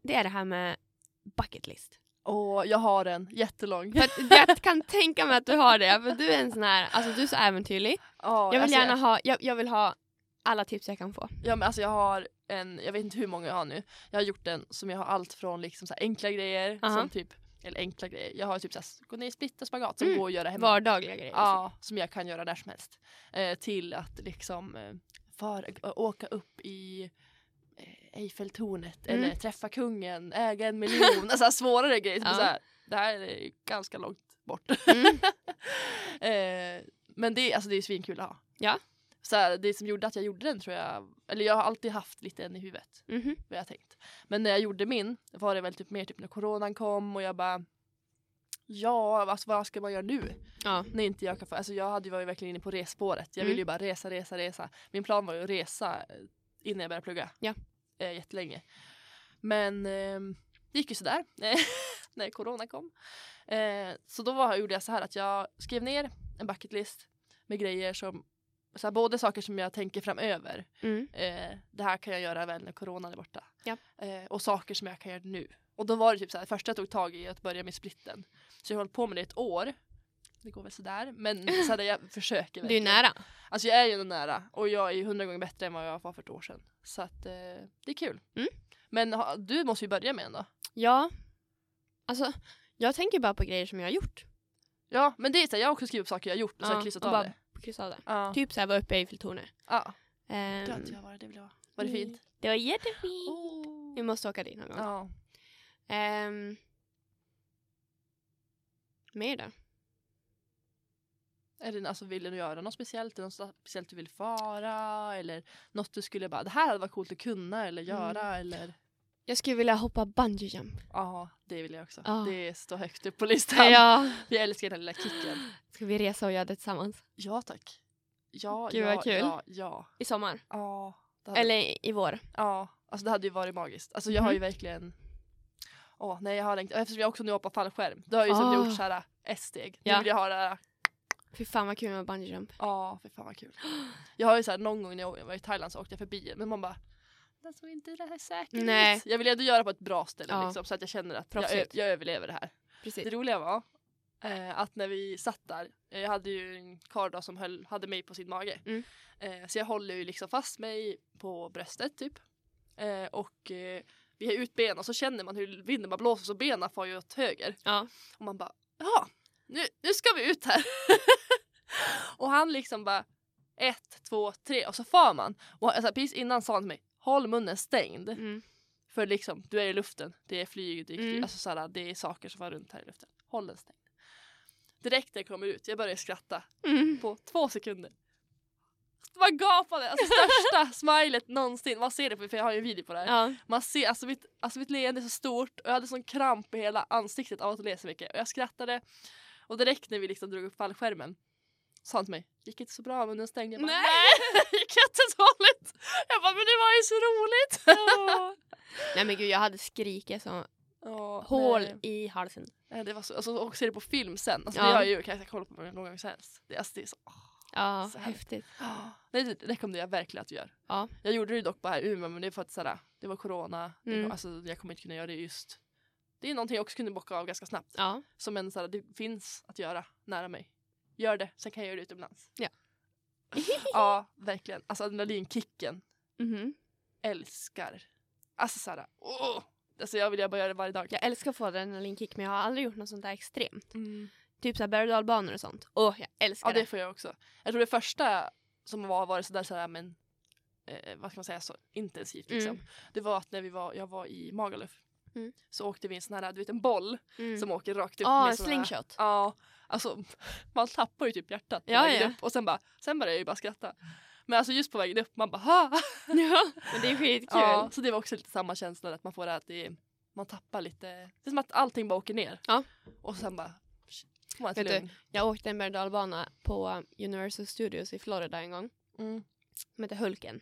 S1: det är det här med bucket list.
S2: Åh, jag har en jättelång.
S1: För att jag kan tänka mig att du har det, för du är en sån här, alltså du är så äventyrlig.
S2: Ja,
S1: Jag vill
S2: alltså,
S1: gärna ha, jag, jag vill ha alla tips jag kan få.
S2: Ja, men alltså jag har en, jag vet inte hur många jag har nu. Jag har gjort en som jag har allt från liksom så här enkla grejer,
S1: Aha.
S2: som typ, eller enkla grejer. Jag har typ så här, gå ner i split och spagat som
S1: Mm.
S2: går att göra hemma.
S1: Vardagliga grejer.
S2: Ja, som jag kan göra när som helst. Eh, till att liksom eh, fara, ö- åka upp i eh, Eiffeltornet
S1: Mm.
S2: eller träffa kungen, äga en miljon. alltså svårare grejer. Typ
S1: Ja.
S2: så här, det här är ganska långt bort.
S1: Mm.
S2: eh, men det, alltså, det är ju svinkul att ha.
S1: Ja.
S2: Så här, det som gjorde att jag gjorde den tror jag, eller jag har alltid haft lite en i huvudet
S1: Mhm.
S2: vad jag tänkt. Men när jag gjorde min var det väl typ mer typ när coronan kom och jag bara Ja, alltså, vad ska man göra nu?
S1: Ja.
S2: När inte jag kan få, alltså jag hade ju varit verkligen inne på resspåret. Jag ville ju bara resa, resa, resa. Min plan var ju att resa eh, innan jag började plugga.
S1: Ja.
S2: Eh, jättelänge. Men ehm, det gick ju sådär eh, när corona kom. Eh, så då var, gjorde jag så här att jag skrev ner en bucket list med grejer som, så här, både saker som jag tänker framöver
S1: Mm.
S2: eh, det här kan jag göra väl när coronan är borta.
S1: Ja.
S2: Eh, och saker som jag kan göra nu. Och då var det typ så här, det första jag tog tag i att börja med splitten. Så jag har hållit på med det ett år. Det går väl sådär, men så här, jag försöker
S1: Du är nära.
S2: Alltså jag är ju ändå nära och jag är ju hundra gånger bättre än vad jag var för ett år sedan. Så att eh, det är kul.
S1: Mm.
S2: Men ha, du måste ju börja med en då.
S1: Ja. Alltså, jag tänker bara på grejer som jag har gjort.
S2: Ja, men det är så här, jag har också skrivit upp saker jag har gjort och så har
S1: Ja,
S2: jag kryssat
S1: och
S2: av
S1: bara
S2: det.
S1: kryssa av det.
S2: Ja.
S1: Typ såhär, var uppe i Eiffeltornet.
S2: Ja.
S1: Ehm,
S2: Det har inte jag varit, det vill jag vara. Var det fint?
S1: Mm. det var jättefint. Vi
S2: Oh.
S1: måste åka dit någon gång.
S2: Ja.
S1: Ehm. mer då?
S2: Är det, alltså, vill du göra något speciellt? Är det något speciellt du vill fara? Eller något du skulle bara, det här hade varit coolt att kunna
S1: Mm.
S2: eller göra eller?
S1: Jag skulle vilja hoppa bungee jump.
S2: Ja, det vill jag också.
S1: Ja.
S2: Det står högt upp på listan.
S1: Ja.
S2: Jag älskar den lilla kicken.
S1: Ska vi resa och göra det tillsammans?
S2: Ja tack. Ja,
S1: Gud,
S2: ja,
S1: vad kul.
S2: ja, ja.
S1: I sommar.
S2: Ja, det hade,
S1: Eller Mm. i- i vår.
S2: ja, alltså det hade ju varit magiskt. Alltså jag har ju verkligen Åh, nej jag har längtat. Eftersom jag också nu hoppar fallskärm. Då har jag ju som
S1: Ah.
S2: gjort såhär ett steg. Nu
S1: Ja.
S2: vill jag ha det här
S1: Fy fan vad kul med bungee jump.
S2: Ja, för fan vad kul. Jag har ju så här, någon gång när jag var i Thailand så åkte jag förbi men man bara jag tror inte det här är säkert.
S1: Nej.
S2: Jag vill ändå göra på ett bra ställe
S1: Ja.
S2: liksom, så att jag känner att jag, ö-
S1: Proffsigt.
S2: jag överlever det här. Det
S1: Precis.
S2: roliga var eh, att när vi satt där, eh, jag hade ju en karl då som höll, hade mig på sin mage.
S1: Mm.
S2: Eh, så jag håller ju liksom fast mig på bröstet typ. Eh, och eh, vi har ut ben och så känner man hur vinden bara blåser så benen far ju åt höger.
S1: Ja.
S2: Och man bara, ja, nu, nu ska vi ut här. och han liksom bara, ett, två, tre och så far man. Och alltså, precis innan sa han till mig, håll munnen stängd.
S1: Mm.
S2: För liksom, du är i luften, det är flyg, det är,
S1: Mm.
S2: alltså, såhär, det är saker som var runt här i luften. Håll den stängd. Direkt när jag kommer ut, jag börjar skratta
S1: Mm.
S2: på två sekunder. Man gapade, alltså största smilet någonsin. Man ser det, på- för jag har ju en video på det här.
S1: Ja.
S2: Man ser, alltså mitt, alltså mitt leende är så stort och jag hade sån kramp i hela ansiktet av att le så mycket. Och jag skrattade. Och direkt när vi liksom drog upp fallskärmen sa han till mig, gick inte så bra men den stängde. Jag bara,
S1: Nej.
S2: nej, det gick jättedåligt. Jag bara, men det var ju så roligt.
S1: Nej men gud jag hade skrikit som
S2: Åh,
S1: hål
S2: nej.
S1: i halsen.
S2: Nej, det var så, alltså, och se det på film sen. Alltså,
S1: Ja.
S2: Det har jag ju, kan jag kolla på hur många gånger som helst. Det, alltså, det är så,
S1: Ja,
S2: Så härligt.
S1: häftigt.
S2: Ah, Nej, det rekommenderar jag verkligen att du gör.
S1: Ja.
S2: Jag gjorde det dock bara här i Umeå men det är för att såhär, det var corona, det
S1: Mm.
S2: var- alltså, jag kommer inte kunna göra det just. Det är någonting jag också kunde bocka av ganska snabbt.
S1: Ja.
S2: Som en såhär, det finns att göra nära mig. Gör det, sen kan jag göra det utomlands.
S1: Ja.
S2: ja, verkligen. Alltså adrenalinkicken,
S1: Mhm.
S2: älskar. Alltså såhär, åh! Alltså jag vill jag bara göra det varje dag.
S1: Jag älskar att få adrenalinkick men jag har aldrig gjort något sånt där extremt.
S2: Mm.
S1: Typ såhär berg och dalbanor och sånt. Åh jag älskar
S2: Ja det får jag också. Jag tror det första som var varit sådär sådär men eh, vad ska man säga så intensivt liksom.
S1: Mm.
S2: Det var att när vi var, jag var i Magaluf
S1: Mm.
S2: så åkte vi en sån här, du vet en boll
S1: det. Mm.
S2: som åker rakt upp.
S1: Ja,
S2: med
S1: en
S2: såna-
S1: slingshot.
S2: Ja, alltså man tappar ju typ hjärtat på
S1: Ja,
S2: vägen
S1: ja.
S2: upp och sen bara, sen började jag ju bara skratta. Men alltså just på vägen upp man bara ha!
S1: Ja. Men det är skitkul.
S2: Ja, så det var också lite samma känsla att man får det här att det, man tappar lite, det är som att allting bara åker ner.
S1: Ja.
S2: Och sen bara, får man ett
S1: Vet du,
S2: lugn.
S1: Jag åkte en berg och dalbana på Universal Studios i Florida en gång.
S2: Mm.
S1: Som hette Hulken.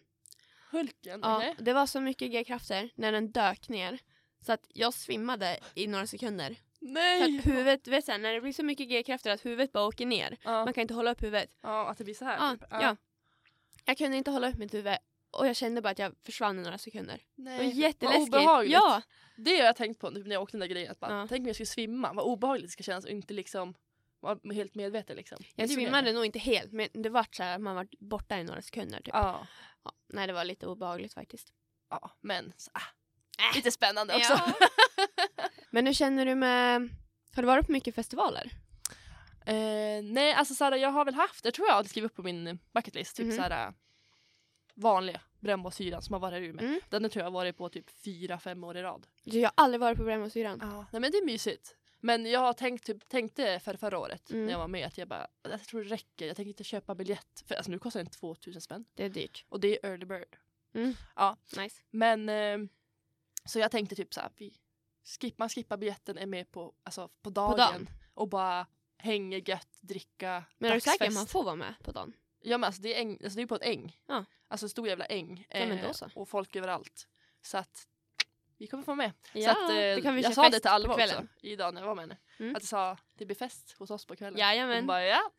S2: Hulken,
S1: Ja,
S2: okej?
S1: det var så mycket g-krafter när den dök ner så att jag svimmade i några sekunder. För
S2: Nej!
S1: att huvudet, du vet så här, när det blir så mycket g-krafter att huvudet bara åker ner.
S2: Ja.
S1: Man kan inte hålla upp huvudet.
S2: Ja, att det blir så här.
S1: Ja,
S2: typ.
S1: ja. Jag kunde inte hålla upp mitt huvud Och jag kände bara att jag försvann i några sekunder. Det var
S2: Nej.
S1: jätteläskigt.
S2: Vad Eh, obehagligt.
S1: Ja.
S2: Det har jag tänkt på typ, när jag åkte den där grejen. Att bara,
S1: Ja.
S2: Tänk om jag skulle svimma, vad obehagligt det ska kännas och inte liksom vara helt medveten. Liksom. Men
S1: Jag
S2: det gjorde
S1: svimmade
S2: inte.
S1: nog inte helt men det var så här att man var borta i några sekunder. Typ.
S2: Ja.
S1: Ja, nej det var lite obehagligt faktiskt.
S2: ja, men så, ah, lite spännande också.
S1: Äh. Ja. men hur känner du med... Har du varit på mycket festivaler?
S2: Eh, nej, alltså såhär, jag har väl haft, jag tror jag hade skrivit upp på min bucketlist, typ
S1: Mhm.
S2: såhär vanliga brännbollsyran som har varit ur med.
S1: Mm.
S2: Den tror jag har varit på typ fyra, fem år i rad.
S1: Du, jag har aldrig varit på Brännbollsyran.
S2: Nej men det är mysigt. Men jag har tänkt, typ, tänkte för förra året
S1: Mm.
S2: när jag var med att jag bara, "Alltså, jag tror det räcker, jag tänker inte köpa biljett. För alltså nu kostar den 2000 spänn
S1: Det är dyrt.
S2: och det är early bird.
S1: Nice.
S2: Men eh, så jag tänkte typ såhär, vi skip, man skippar biljetten, är med på, alltså, på, dagen,
S1: dagen.
S2: och bara hänger gött, dricka,
S1: Men är du säker att
S2: dagsfest.
S1: man får vara med på dagen?
S2: Ja men alltså det är, äng, alltså det är på en äng.
S1: Ja.
S2: Alltså en stor jävla äng. Eh,
S1: Ja, men då så.
S2: Och folk överallt. Så att vi kommer få vara med.
S1: Ja,
S2: så att, eh,
S1: då kan vi köra
S2: jag sa det
S1: fest
S2: till Alva
S1: på kvällen.
S2: också idag när jag var med henne.
S1: Mm.
S2: Att jag sa det blir fest hos oss på kvällen. Hon
S1: Jajamän.
S2: bara ja.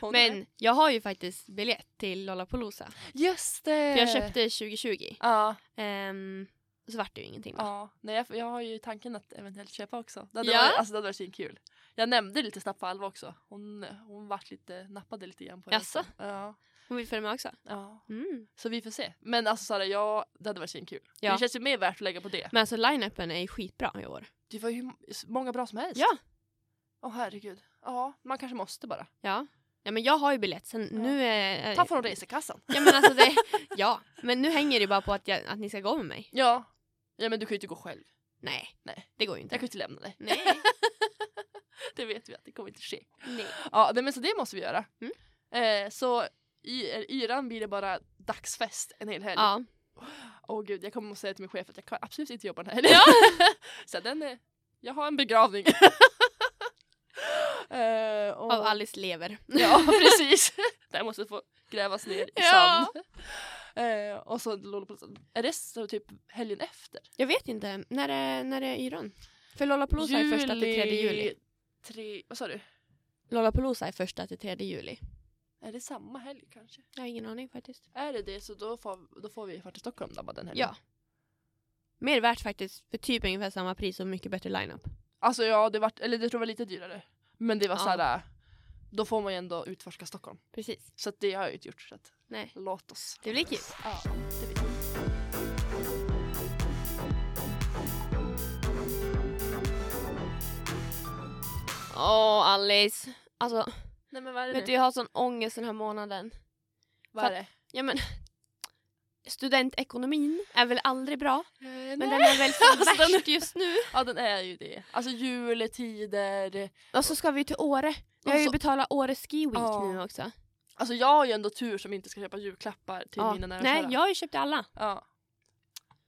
S2: Hon är med.
S1: Men jag har ju faktiskt biljett till Lollapalooza.
S2: just det.
S1: För jag köpte 2020.
S2: Ja,
S1: Ehm, så vart det ju ingenting. då.
S2: ja. Nej, jag, jag har ju tanken att eventuellt köpa också. Det hade,
S1: Ja.
S2: varit, alltså, det hade varit svinkul. Jag nämnde lite snabbt på Alva också. Hon, hon vart lite, nappade lite grann på det.
S1: Jaså?
S2: också. Ja.
S1: Hon vill följa med också.
S2: ja.
S1: Mm.
S2: Så vi får se. Men alltså Sara, ja, det hade varit svinkul.
S1: Ja.
S2: Det känns ju mer värt att lägga på det.
S1: Men alltså line-upen är ju skitbra i år.
S2: Det var ju s- många bra som helst.
S1: Ja.
S2: Åh herregud. Ja, man kanske måste bara.
S1: Ja. Ja men jag har ju biljett sen
S2: Ja.
S1: nu är...
S2: Ta från resekassan.
S1: Ja men alltså det... Ja. Men nu hänger det bara på att, jag, att ni ska gå med mig.
S2: Ja. Ja men du kan ju inte gå själv.
S1: Nej.
S2: Nej.
S1: Det går ju inte.
S2: Jag kan ju inte lämna dig.
S1: Nej.
S2: Det vet vi att det kommer inte ske.
S1: Nej.
S2: Ja nej, men så det måste vi göra.
S1: Mm.
S2: Eh, så i er yran blir det bara dagsfest en hel helg. Åh
S1: Ja.
S2: gud jag kommer att säga till min chef att jag kan absolut inte jobba den här helgen. så den är, jag har en begravning. eh, och-
S1: Av Alice lever.
S2: Ja, precis. Det här måste få grävas ner i
S1: Ja.
S2: sand. Eh, och så Lollapalooza. Är det så typ helgen efter?
S1: Jag vet inte. När är, när är yran? För Lollapalooza är första till tredje juli.
S2: Tre, vad sa du?
S1: Lollapalooza är första till tredje juli.
S2: Är det samma helg kanske?
S1: Jag har ingen aning faktiskt.
S2: Är det det så då får, då får vi fara till Stockholm då, bara den helgen.
S1: Ja. Mer värt faktiskt. För typ ungefär samma pris och mycket bättre line-up.
S2: Alltså ja, det var, eller det tror jag var lite dyrare. Men det var
S1: Ja.
S2: såhär, då får man ju ändå utforska Stockholm.
S1: Precis.
S2: Så att det har jag ju inte gjort. Så att,
S1: Nej.
S2: låt oss.
S1: Det blir kul.
S2: Ja, det blir kul.
S1: Åh Alice. Alltså,
S2: Nej men vad är det
S1: vet du
S2: nu?
S1: jag har sån ångest den här månaden.
S2: Vad är det?
S1: Ja men. Studentekonomin är väl aldrig bra.
S2: Eh,
S1: Men
S2: nej.
S1: den är väl som
S2: Alltså, den-
S1: värst just nu.
S2: Ja den är ju det. Alltså juletider.
S1: Och så ska vi till Åre. Vi har
S2: Och
S1: ju
S2: så-
S1: betalat Åre Ski Week
S2: Ja.
S1: nu också.
S2: Alltså jag har ju ändå tur som inte ska köpa julklappar till
S1: Ja.
S2: mina nära och
S1: Nej,
S2: kära.
S1: jag har ju köpt alla.
S2: Ja.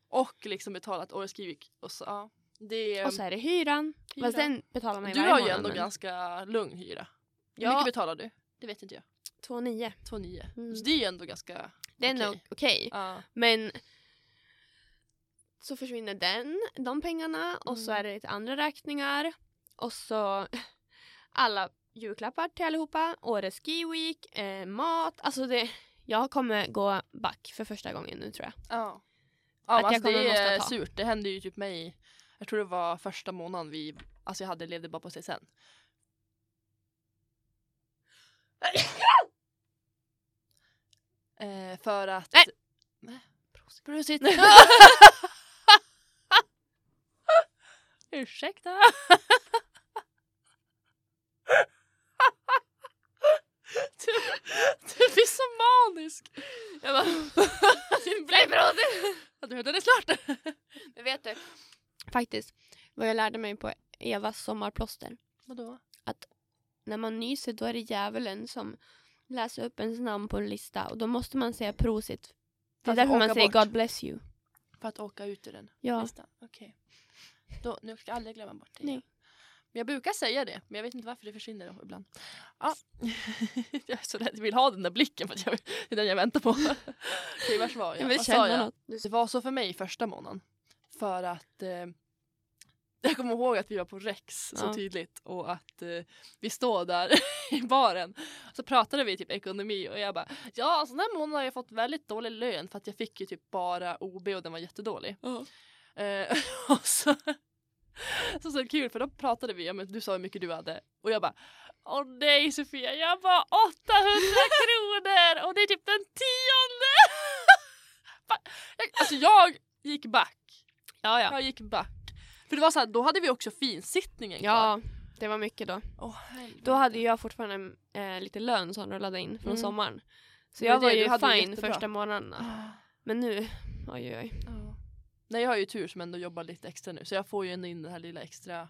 S2: Och liksom betalat årets skrivik. Och så, ja. Det är,
S1: Och så är det Ehm, hyran.
S2: hyra.
S1: Fast den betalar man ju
S2: du
S1: varje
S2: har ju
S1: månad,
S2: ändå
S1: men-
S2: ganska lugn hyra. Hur
S1: Ja.
S2: mycket betalar du? Det vet inte jag.
S1: 2,9.
S2: 2,9.
S1: Mm.
S2: Så det är ju ändå ganska...
S1: Den är
S2: Okej.
S1: okej.
S2: Ja.
S1: Men så försvinner den, de pengarna och så
S2: Mm.
S1: är det lite andra räkningar. Och så alla julklappar till allihopa, Årets Ski Week, eh, mat. Alltså det, jag kommer gå back för första gången nu tror jag.
S2: ja.
S1: Att
S2: ja
S1: jag
S2: alltså,
S1: kommer
S2: det
S1: måste
S2: är
S1: ta.
S2: surt. Det hände ju typ mig. Jag tror det var första månaden vi... Alltså jag hade levde bara på CSN. eh, för att...
S1: Nej.
S2: Nej. Prosit. Ursäkta. Du, du blir så manisk. Jag bara... Din blodbror. Ja, du hörde det klart.
S1: Men vet du? Faktiskt, vad jag lärde mig på Evas sommarplåster.
S2: Vadå?
S1: När man nyser då är det djävulen som läser upp ens namn på en lista och då måste man säga prosit. Det
S2: För
S1: är
S2: att
S1: därför man
S2: åka
S1: säger
S2: bort.
S1: God bless you.
S2: För att åka ut ur den
S1: Ja.
S2: listan. Okej. Då, nu ska jag aldrig glömma bort det.
S1: Nej.
S2: Men jag brukar säga det, men jag vet inte varför det försvinner ibland. Ja. jag är så rädd, jag vill ha den där blicken för att jag, det är den jag väntar på. Okej, vars var jag?
S1: Jag vill
S2: Vad sa
S1: känna
S2: jag?
S1: något.
S2: Det var så för mig första månaden. För att eh, Jag kommer ihåg att vi var på Rex så
S1: Ja.
S2: tydligt och att eh, vi står där i baren så pratade vi typ ekonomi och jag bara ja alltså den här månaden har jag fått väldigt dålig lön för att jag fick ju typ bara OB och den var jättedålig.
S1: Ja.
S2: Eh, och så, så, så kul för då pratade vi, ja, men du sa hur mycket du hade och jag bara Åh nej Sofia, jag var 800 kronor och det är typ den tionde! Ba- jag- alltså jag gick back.
S1: Ja, ja.
S2: Jag gick back. För det var så här, då hade vi också finsittningen kvar.
S1: Ja, det var mycket då.
S2: Åh,
S1: Då hade jag fortfarande eh, lite lön som rullade in från
S2: Mm.
S1: sommaren. Så
S2: Det
S1: jag
S2: var det,
S1: var
S2: du
S1: ju
S2: hade det
S1: fine
S2: jättebra.
S1: första månaderna.
S2: Ah,
S1: Men nu, oj oj.
S2: ja. Nej jag har ju tur som ändå jobbar lite extra nu så jag får ju ändå in den här lilla extra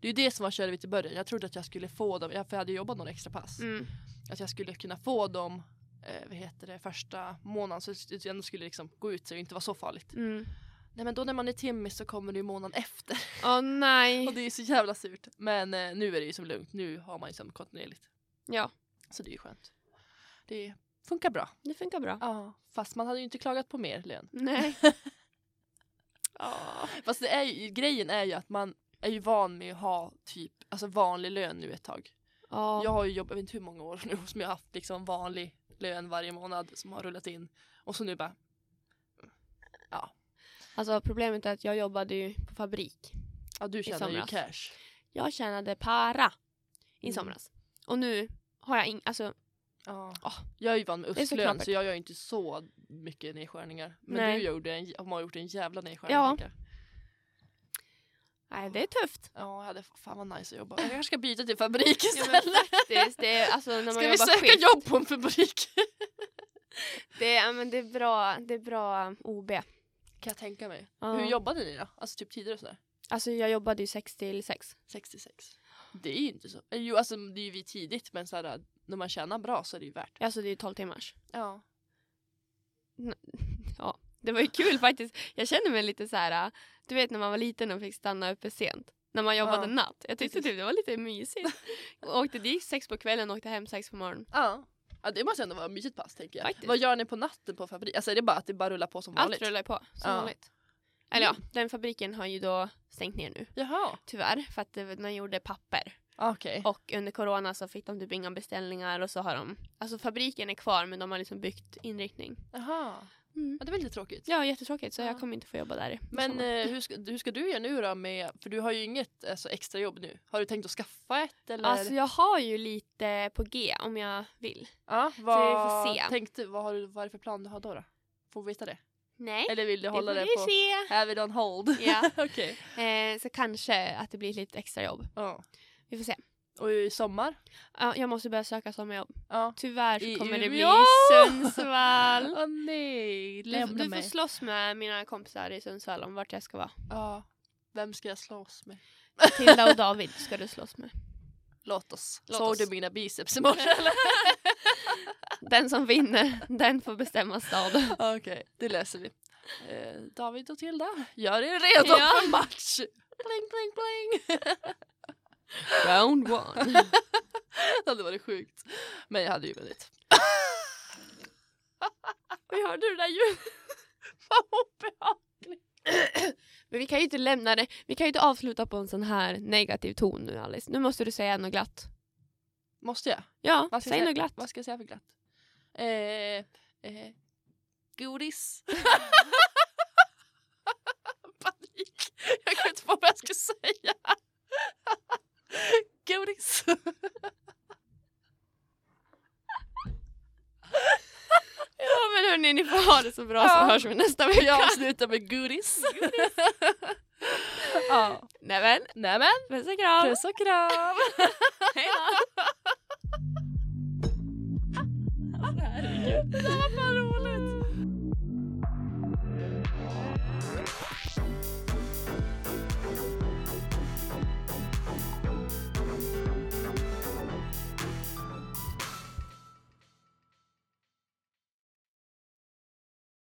S2: det är ju det som var körigt i början. Jag trodde att jag skulle få dem, jag- för jag hade ju jobbat några extra pass.
S1: Mm.
S2: att jag skulle kunna få dem eh, vad heter det, första månaden så att det ändå skulle liksom gå ut sig och inte vara så farligt.
S1: Mm.
S2: Nej men då när man är timmis så kommer det ju månaden efter
S1: Åh
S2: och
S1: nej.
S2: det är ju så jävla surt. Men eh, nu är det ju som lugnt, nu har man ju som kontinuerligt.
S1: Ja,
S2: Så det är ju skönt. Det funkar bra.
S1: det funkar bra.
S2: Ja, fast man hade ju inte klagat på mer lön.
S1: Nej.
S2: Fast det är ju, grejen är ju att man är ju van med att ha typ alltså vanlig lön nu ett tag.
S1: Ja.
S2: Jag har ju jobbat, jag vet inte hur många år nu, som jag har haft liksom vanlig lön varje månad som har rullat in. Och så nu bara,
S1: Alltså problemet är att jag jobbade ju på fabrik.
S2: ja du tjänar ju
S1: somras.
S2: cash.
S1: Jag tjänade para i
S2: Mm.
S1: somras. Och nu har jag ing... Alltså,
S2: Ja.
S1: Ja.
S2: Jag är ju van med
S1: Det är så
S2: Östlön så,
S1: knappert.
S2: jag gör ju inte så mycket nedskärningar. Men
S1: Nej.
S2: du gjorde en, har gjort en jävla nedskärning.
S1: Ja.
S2: tänker jag.
S1: nej det är tufft.
S2: ja jag hade, fan vad nice att jobba. Jag kanske ska byta till fabrik
S1: Ja, men
S2: istället.
S1: faktiskt. Det är, alltså, när man
S2: ska vi
S1: jobbar
S2: söka
S1: skift,
S2: jobb på en fabrik?
S1: Det är, ja, men det är bra, det är bra OB.
S2: Kan jag tänka mig.
S1: Ja.
S2: Hur jobbade ni då? Alltså typ tidigare och sådär?
S1: Alltså jag jobbade ju 6 till 6.
S2: 66. Det är ju inte så. Jo alltså det är ju vi tidigt men såhär när man tjänar bra så är det ju värt.
S1: Alltså det är ju 12 timmars.
S2: Ja.
S1: Det var ju kul faktiskt. Jag känner mig lite så här. äh, du vet när man var liten och fick stanna uppe sent. När man jobbade
S2: Ja,
S1: natt. Jag tyckte
S2: precis.
S1: typ det var lite mysigt. Jag åkte dit sex på kvällen och åkte hem sex på morgonen.
S2: Ja. Ja det måste ändå vara ett mysigt pass tänker jag.
S1: Faktiskt.
S2: Vad gör ni på natten på fabrik? Alltså är det bara att det bara rullar på som vanligt?
S1: Allt rullar ju på som
S2: Ja. Mm.
S1: vanligt. Eller ja, den fabriken har ju då stängt ner nu.
S2: Jaha.
S1: Tyvärr, för att det- de gjorde papper.
S2: Ah, Okej.
S1: Och under corona så fick de typ inga beställningar och så har de... Alltså fabriken är kvar men de har liksom byggt inriktning.
S2: Jaha.
S1: Mm.
S2: Ja, det var lite tråkigt.
S1: Ja, jättetråkigt så
S2: Ja.
S1: jag kommer inte få jobba där. i
S2: Men
S1: sommar.
S2: eh, hur, ska, hur ska du göra nu då? Med, för du har ju inget alltså, extra jobb nu. Har du tänkt att skaffa ett? Eller?
S1: Alltså jag har ju lite på G om jag vill.
S2: ja, vad,
S1: vi får se.
S2: Tänkte, vad, har du, vad är det för plan du har då? då? Får vi veta det?
S1: Nej,
S2: Eller vill du
S1: det
S2: hålla
S1: får
S2: det,
S1: vi
S2: på
S1: se.
S2: have it on hold?
S1: Ja.
S2: Okej.
S1: Eh, så kanske att det blir lite extra jobb.
S2: Ja.
S1: Vi får se.
S2: Och i sommar?
S1: Ja, jag måste börja söka sommarjobb.
S2: Ja.
S1: Tyvärr så
S2: I
S1: kommer det bli
S2: Umeå!
S1: Sundsvall.
S2: Åh nej,
S1: Du,
S2: lämna
S1: du får
S2: mig.
S1: slåss med mina kompisar i Sundsvall om vart jag ska vara.
S2: Ja. Vem ska jag slåss med?
S1: Tilda och David ska du slåss med.
S2: Låt oss.
S1: Låt
S2: Såg
S1: oss.
S2: du mina biceps i morse eller?
S1: Den som vinner, den får bestämma stad.
S2: Okej, det läser vi. Eh, David och Tilda, gör er redo
S1: Ja.
S2: för match! Bling, bling, bling!
S1: Round one.
S2: det hade varit sjukt. Men jag hade ju vunnit.
S1: Vi hörde det där ljudet.
S2: Fan vad obehagligt.
S1: Men vi kan ju inte lämna det. Vi kan ju inte avsluta på en sån här negativ ton nu Alice. Nu måste du säga något glatt.
S2: Måste jag?
S1: Ja,
S2: Vad ska jag
S1: säg
S2: säga?
S1: något glatt.
S2: Vad ska jag säga för glatt? Eh, eh, godis. Panik. Jag kan inte på vad jag ska säga. godis.
S1: Ja men hörni, ni får ha det så bra så
S2: Ja.
S1: hörs vi nästa vecka.
S2: Jag avslutar med godis. ja.
S1: Nej men,
S2: Nej men,
S1: puss och kram.
S2: puss och kram.
S1: Hej då.